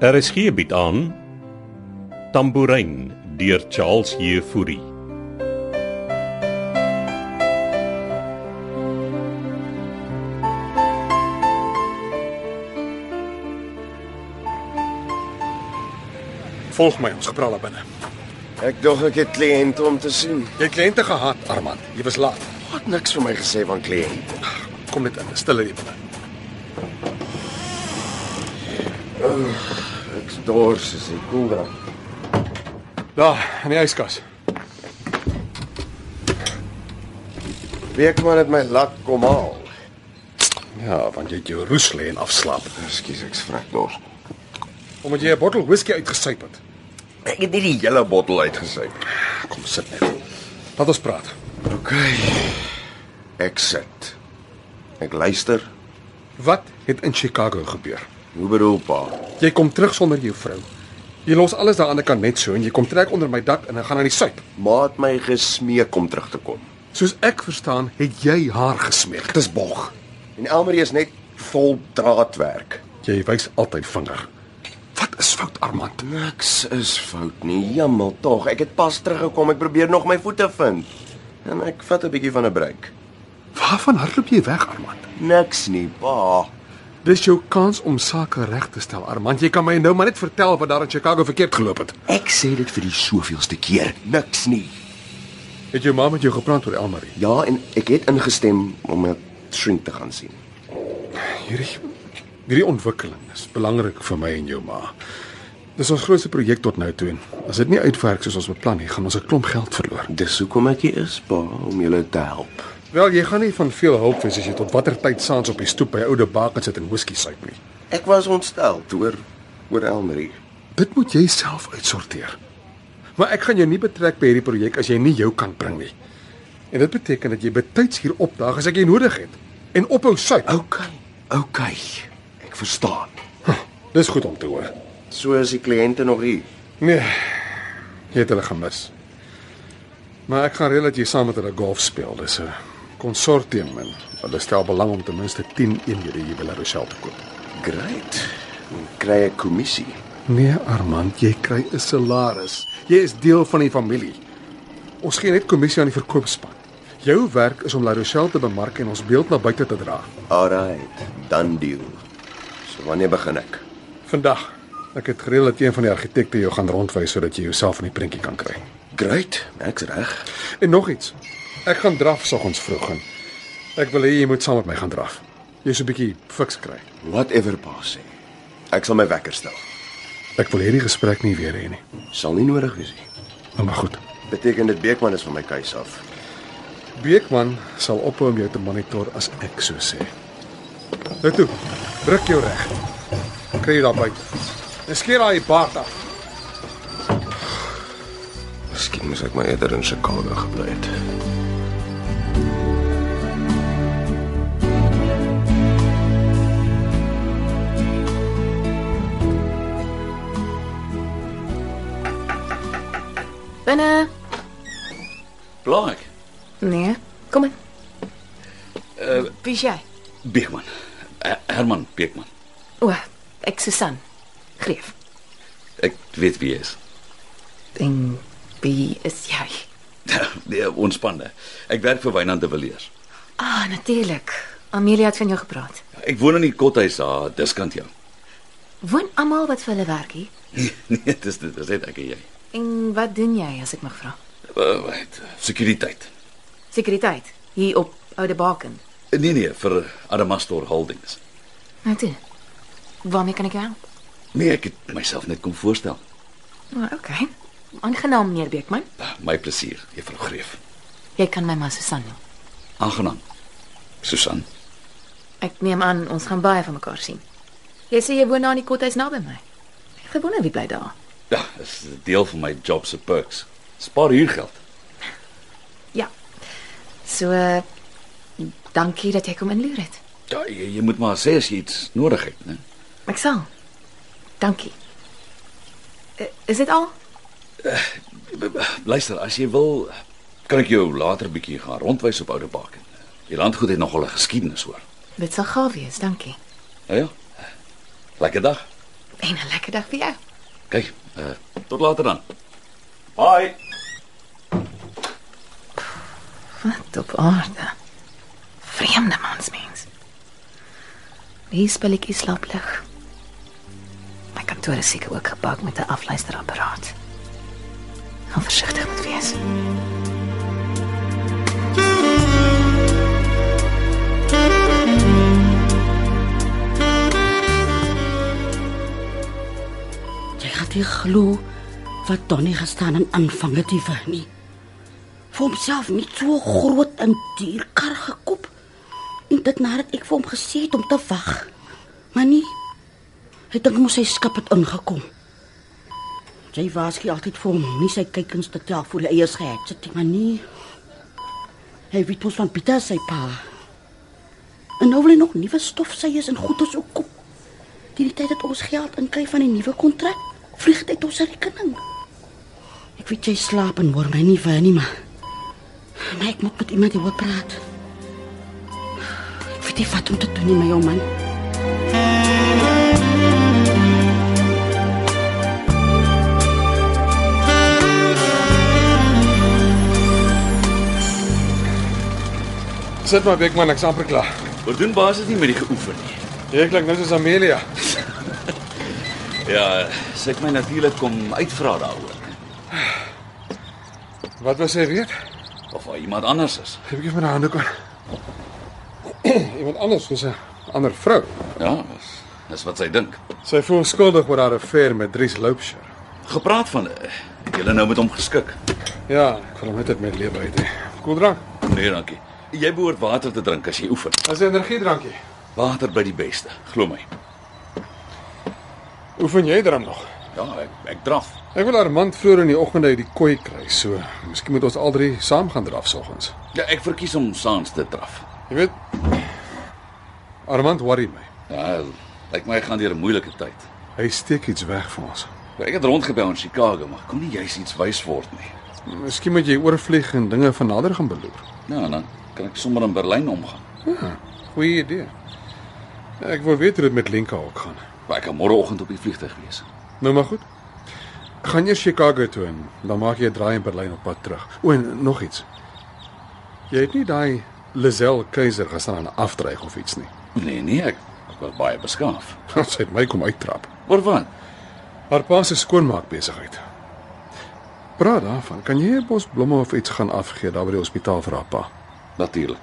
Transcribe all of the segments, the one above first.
RSG bied Er aan Tambourin deur Charles Jefouri. Volg my, ons gepraat daar binne. Ek dog ek het kliënte om te sien. Jy het kliënte gehad, Armand. Jy was laat. Wat niks vir my gesê van kliënte. Kom net in, stil hier binne. Ek's dors as ek koel dan. Daar, in die yskas. Weekman het my lak kom haal. Ja, want jy het jou roes lê en afslaap. Ekskuus, ek's vrek dors. Omdat jy 'n bottel whisky uitgesuip het. Ek het nie die hele bottel uitgesuip. Kom sit net. Laat ons praat. OK. Ek sit. Ek luister. Wat het in Chicago gebeur? Hoe bedoel pa? Jy kom terug sonder jou vrou. Jy los alles daar aan die kant net so en jy kom trek onder my dak en dan gaan aan die suip. Maat my gesmeek om terug te kom. Soos ek verstaan, het jy haar gesmeek. Dis bog. En Elmarie is net vol draadwerk. Jy wys altyd vinger. Wat is fout, Armand? Niks is fout nie. Jammel tog. Ek het pas teruggekom. Ek probeer nog my voete vind. En ek vat 'n bietjie van 'n breek. Waarvan hardloop jy weg, Armand? Niks nie, pa. Dis jou kans om sake reg te stel, Armand. Jy kan my nou maar net vertel wat daar in Chicago verkeerd geloop het. Ek sê dit vir die soveelste keer. Niks nie. Het jou ma met jou gepraat oor Elmarie? Ja, en ek het ingestem om 'n shrink te gaan sien. Hierdie hierdie ontwikkeling is belangrik vir my en jou ma. Dis ons grootste projek tot nou toe en as dit nie uitwerk soos ons beplan nie, gaan ons 'n klomp geld verloor. Dis hoekom ek hier is, pa, om julle te help. Wel, jy gaan nie van veel hulp wees as jy tot watter tyd saans op die stoep by oude bakens sit en whisky suip nie. Ek was ontstel oor oor Elmarie. Dit moet jy self uitsorteer. Maar ek gaan jou nie betrek by hierdie projek as jy nie jou kan bring nie. En dit beteken dat jy betyds hier opdaag as ek jou nodig het en ophou suip. OK. OK. Ek verstaan. Dis goed om te hoor. So is die kliënte nog hier. Nee. Jy het hulle gemis. Maar ek gaan reël dat jy saam met hulle golf speel. Dis 'n konsortium en hulle stel belang om ten minste 10 eenhede hier by La Rochelle te koop. Great. Dan kry ek kommissie. Nee, Armand, jy kry 'n salaris. Jy is deel van die familie. Ons gee net kommissie aan die verkoopspan. Jou werk is om La Rochelle te bemark en ons beeld na buite te dra. Alright, dan deal. So wanneer begin ek? Vandag. Ek het gereël dat een van die argitekte jou gaan rondwys sodat jy jouself in die prentjie kan kry. Great. Ek's reg. En nog iets. Ek gaan draf soggens vroeg en ek wil hê jy moet saam met my gaan draf. Jy's 'n bietjie fiks kry. Whatever pa sê. Ek sal my wekker stel. Ek wil hierdie gesprek nie weer hê nie. Sal nie nodig wees nie. Nou maar goed. Beteken dit Beekman is van my keuse af. Beekman sal ophou om jou te monitor as ek so sê. Nou toe, druk jou reg. Kry jy daar buite. En skeer daai baard af. Miskien moes ek maar eerder in Chicago gebly het. Binne. Blaak. eh, Nee, kom in. Eh, Wie is jy? Beekman. Eh, Herman Beekman. O, ek Susan. Greef. Ek weet wie hy is. En wie is jy? Nee, ontspanne. Ek werk vir Wynand de Villiers. Ah, natuurlik. Amelia het van jou gepraat. Ek woon in die kothuis daar, diskant ja. jou. Woon almal wat vir hulle werk hier? nee, dis dit is net ek en jy. En wat doen jy as ek mag vra? Uh, wait, sekuriteit. Sekuriteit hier op Oude Baken. Eh, Nee nee, vir Adamastor Holdings. Nou toe. Waarmee kan ek jou help? Nee, ek het myself net kom voorstel. Nou, oh, okay. Aangenaam meneer Beekman. Ah, My plesier, Juffrou Greef. Jy kan my maar Susan noem. Aangenaam. Susan. Ek neem aan ons gaan baie van mekaar sien. Jy sê jy woon daar in die kothuis naby my. Ek gewonder wie bly daar. Ja, is 'n deel van my job se perks. Spaar huurgeld. Ja. So eh, dankie dat jy kom inloer het. Ja, jy, jy moet maar sê as jy iets nodig het, né? Ek sal. Dankie. Eh, Is dit al? Luister, as jy wil, kan ek jou later 'n bietjie gaan rondwys op Oude Baken. Die landgoed het nogal 'n geskiedenis hoor. Dit sal gaaf wees, dankie. Nou ja. Lekker dag. En 'n lekker dag vir jou. Kyk, uh, tot later dan. Bye. Wat op aarde. Vreemde mansmens. Die spelletjie slaap lig. My kantoor is seker ook gebak met 'n afluisterapparaat. Gaan versigtig moet wees. Jy gaan nie glo wat Donnie gestaan en aanvang het hiervan nie. Vir homself met so groot en duur kar gekoop. En dit nadat ek vir hom gesê het om te wag. Maar nie. Hy dink mos hy skip het ingekom. Jy waarsku altyd vir hom, nie sy kykens te tel vir die eie skets, dit maar nie. Hy weet mos van Pieter sy pa. En nou wil hy nog nuwe stofsyers en goeders ook koop. Teen die tyd dat ons geld inkry van die nuwe kontrak, vlieg dit uit ons rekening. Ek weet jy slaap en word my nie vir nie, maar maar ek moet met iemand hieroor praat. Ek weet nie wat om te doen nie, my ou man. Sit maar Beekman, ek's amper klaar. Wat doen baas het nie met die geoefen nie. Jy klink nou soos Amelia. Ja, sê ek my natuurlik kom uitvra daaroor Wat was sy weet? of hy iemand anders is. Heb ek even my hande kan. Iemand anders was 'n ander vrou. Ja, dis dis wat sy dink. Sy voel skuldig oor haar affair met Dries Loupsher. Gepraat van eh, het julle nou met hom geskik. Ja, ek wil hom net uit my lewe uit hê. Koeldrank. Nee, dankie. Jy behoort water te drink as jy oefen. As 'n energiedrankie. Water by die beste, glo my. Oefen jy drum nog? Ja, ek, ek draf. Ek wil Armand vroeër in die oggend uit die kooi kry, so miskien moet ons al drie saam gaan draf soggens. Ja, ek verkies om saans te draf. Jy weet Armand worry my. Ja, lyk my hy gaan deur 'n moeilike tyd. Hy steek iets weg vir ons. Ek het rondgebel in Chicago, maar kon nie juis iets wys word nie. Miskien moet jy oorvlieg en dinge van nader gaan beloer. Ja, en dan kan ek sommer in Berlyn omgaan. Goeie idee. Ek wil weet hoe dit met Lenka ook gaan. Maar ek kan môreoggend op die vliegtuig wees. Nou maar goed. Gaan jy Chicago toe en dan maak jy 'n draai in Berlyn op pad terug. O, en nog iets. Jy het nie daai Lazel Keiser gestaan aan 'n aftreig of iets nie. Nee, nee, ek, ek was baie beskaaf. Ons het my kom uittrap. Oor wat? Haar pa se skoonmaak besigheid. Praat daarvan. Kan jy 'n bos blomme of iets gaan afgee daar by die hospitaal vir haar pa? Natuurlik.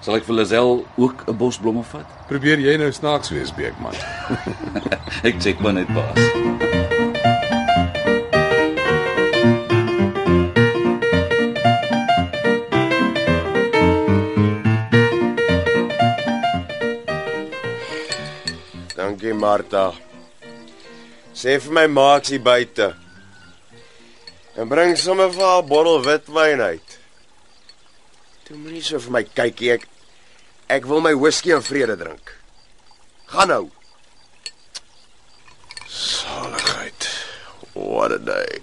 Sal ek vir Lazel ook 'n bos blomme vat? Probeer jy nou snaaks wees, Beekman. Ek check maar net baas. Dankie Martha. Sê vir my maaks hier buite. En bring sommer vir haar 'n bottel witwyn uit. Toe moenie so vir my kykie ek ek wil my whisky in vrede drink. Gaan nou. Saligheid. What a day.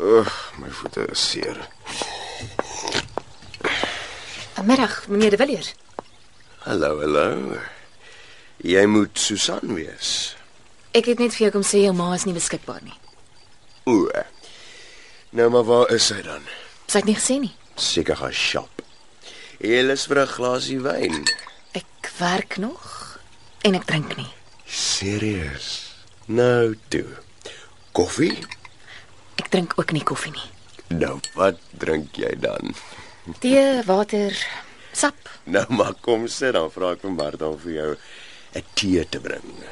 Ugh, my voete is seer. Vanmiddag, meneer De Villiers. Hallo, hallo. Jy moet Susan wees. Ek het net vir jou kom sê jou ma is nie beskikbaar nie. O. eh. Nou maar waar is sy dan? Sy het nie gesê nie. Seker gaan shop. Hier is vir 'n glasie wyn. Ek werk nog en ek drink nie. Serieus? Nou toe. Koffie? Ek drink ook nie koffie nie. Nou wat drink jy dan? Tee, water, sap. Nou maar kom sit dan vra ek vir Martha om vir jou 'n tee te bring.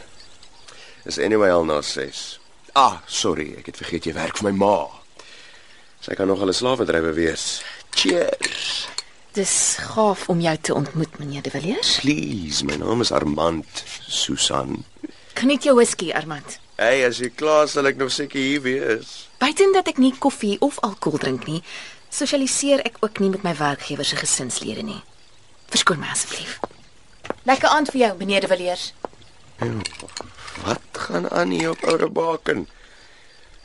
Is anyway al na 6. Ah, sorry, ek het vergeet jy werk vir my ma. Sy kan nog 'n slawedrywer wees. Cheers. Dis gaaf om jou te ontmoet, meneer De Villiers. Please, my naam is Armand Susan. Geniet jou whisky, Armand. Hey, as jy klaar is, sal ek nog seker hier wees. Buiten dat ek nie koffie of alkohol drink nie, sosialiseer ek ook nie met my werkgewer se gesinslede nie. Verskoon my asseblief. Lekker aand vir jou, meneer De Villiers. Ehm, Wat gaan aan hier op Oude Baken?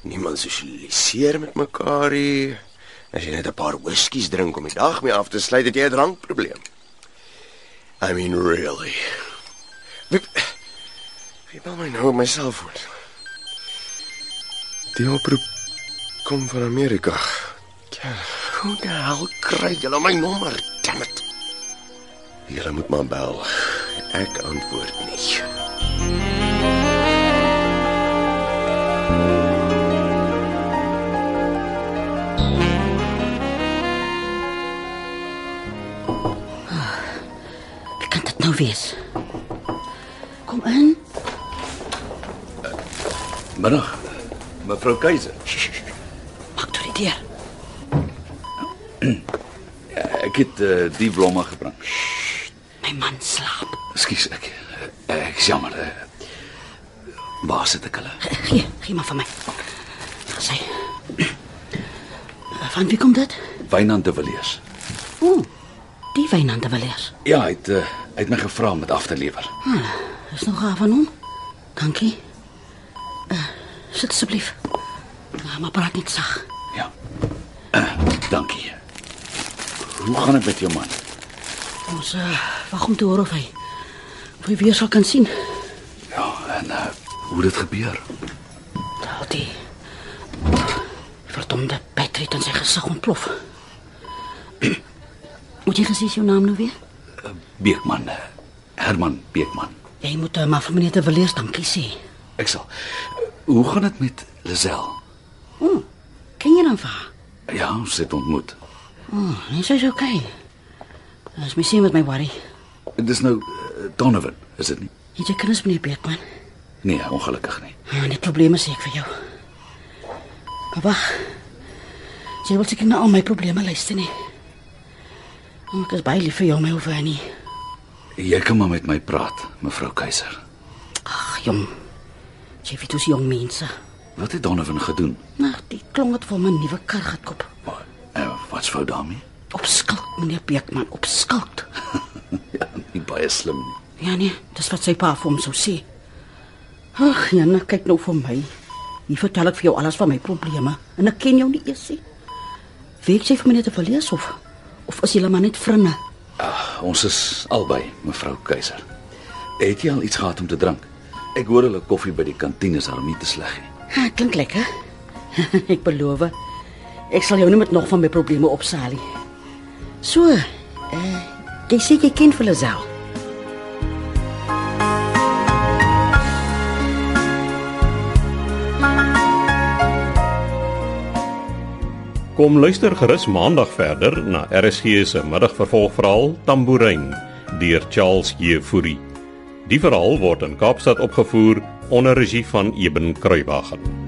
Niemand sosialiseer met mekaar hier. As jy net 'n paar whiskies drink om die dag mee af te sluit, het jy 'n drankprobleem. I mean really. Wie- Wie bel my nou op my selfoon? Die oproep kom van Amerika. Ja, hoe die hel kry julle my nommer? Damn it. Julle moet maar bel. Ek antwoord nie. Wie kan dit nou wees? Kom in. Middag. Mevrou Keiser. Maak toe die deur. Ek het uh, die blomme gebring. My man slaap. Ekskuus ek. Ek is jammer. eh. Waar sit ek hulle? Gee, gee maar van my. Sê. Van wie kom dit? Wynand de Villiers. Ooh. Die Wynand de Villiers. Ja, hy het uh, hy het my gevra om dit af te lewer. Ah, Is nog gaaf van hom. Dankie. Uh, sit asseblief. Ja, maar praat nie sag. Ja. Dankie. Hoe gaan dit met jou man? Ons uh, wag om te hoor of hy of hy weer sal kan sien. Ja, en uh, hoe dit gebeur? Al die verdomde Petrie het in sy gesig ontplof. Moet jy gesien jou naam nou weer? Beekman. eh, Herman Beekman. Jy moet uh, maar vir meneer te verlees dankie sê. Ek sal. Hoe gaan dit met Lisel? Ooh, ken jy dan vir haar? Ja, ons het ontmoet. Ooh, nee, sy's okay. Dis miskien wat my worry. Dit is nou eh, Donovan, is dit nie? Het jy kennis meneer Beekman? Nee, ongelukkig nie. Ja, die probleme sê ek vir jou. Maar wag. Jy wil seker na al my probleme luister nie. Oh, Ek is baie lief vir jou, my Hoefanie. Jy kan maar met my praat, mevrou Keiser. Ag, jong. Jy weet hoe se jong mense. Wat het Donovan gedoen? Nou, die klong het vir my 'n nuwe kar gekoop. Maar uh, wat's fout daarmee? Op skuld, meneer Beekman, op skuld. ja, nie baie slim nie. Ja nee, dis wat sy pa vir hom sou sê. Ag, Janne, kyk nou vir my. Hier vertel ek vir jou alles van my probleme en ek ken jou nie eers nie. Weet jy vir meneer te verlees of of is julle maar net vriende? Ag, ons is albei, mevrou Keiser. Het jy al iets gehad om te drink? Ek hoor hulle koffie by die kantine is al nie te sleg nie. Ha, klink lekker. ek beloof. Ek sal jou nie met nog van my probleme opsaal nie. So, eh, jy sê jy ken vir Lazel. Kom luister gerus maandag verder na RSG se middagvervolgverhaal Tambourine deur Charles Jefouri. Die verhaal word in Kaapstad opgevoer onder regie van Eben Kruiwagen.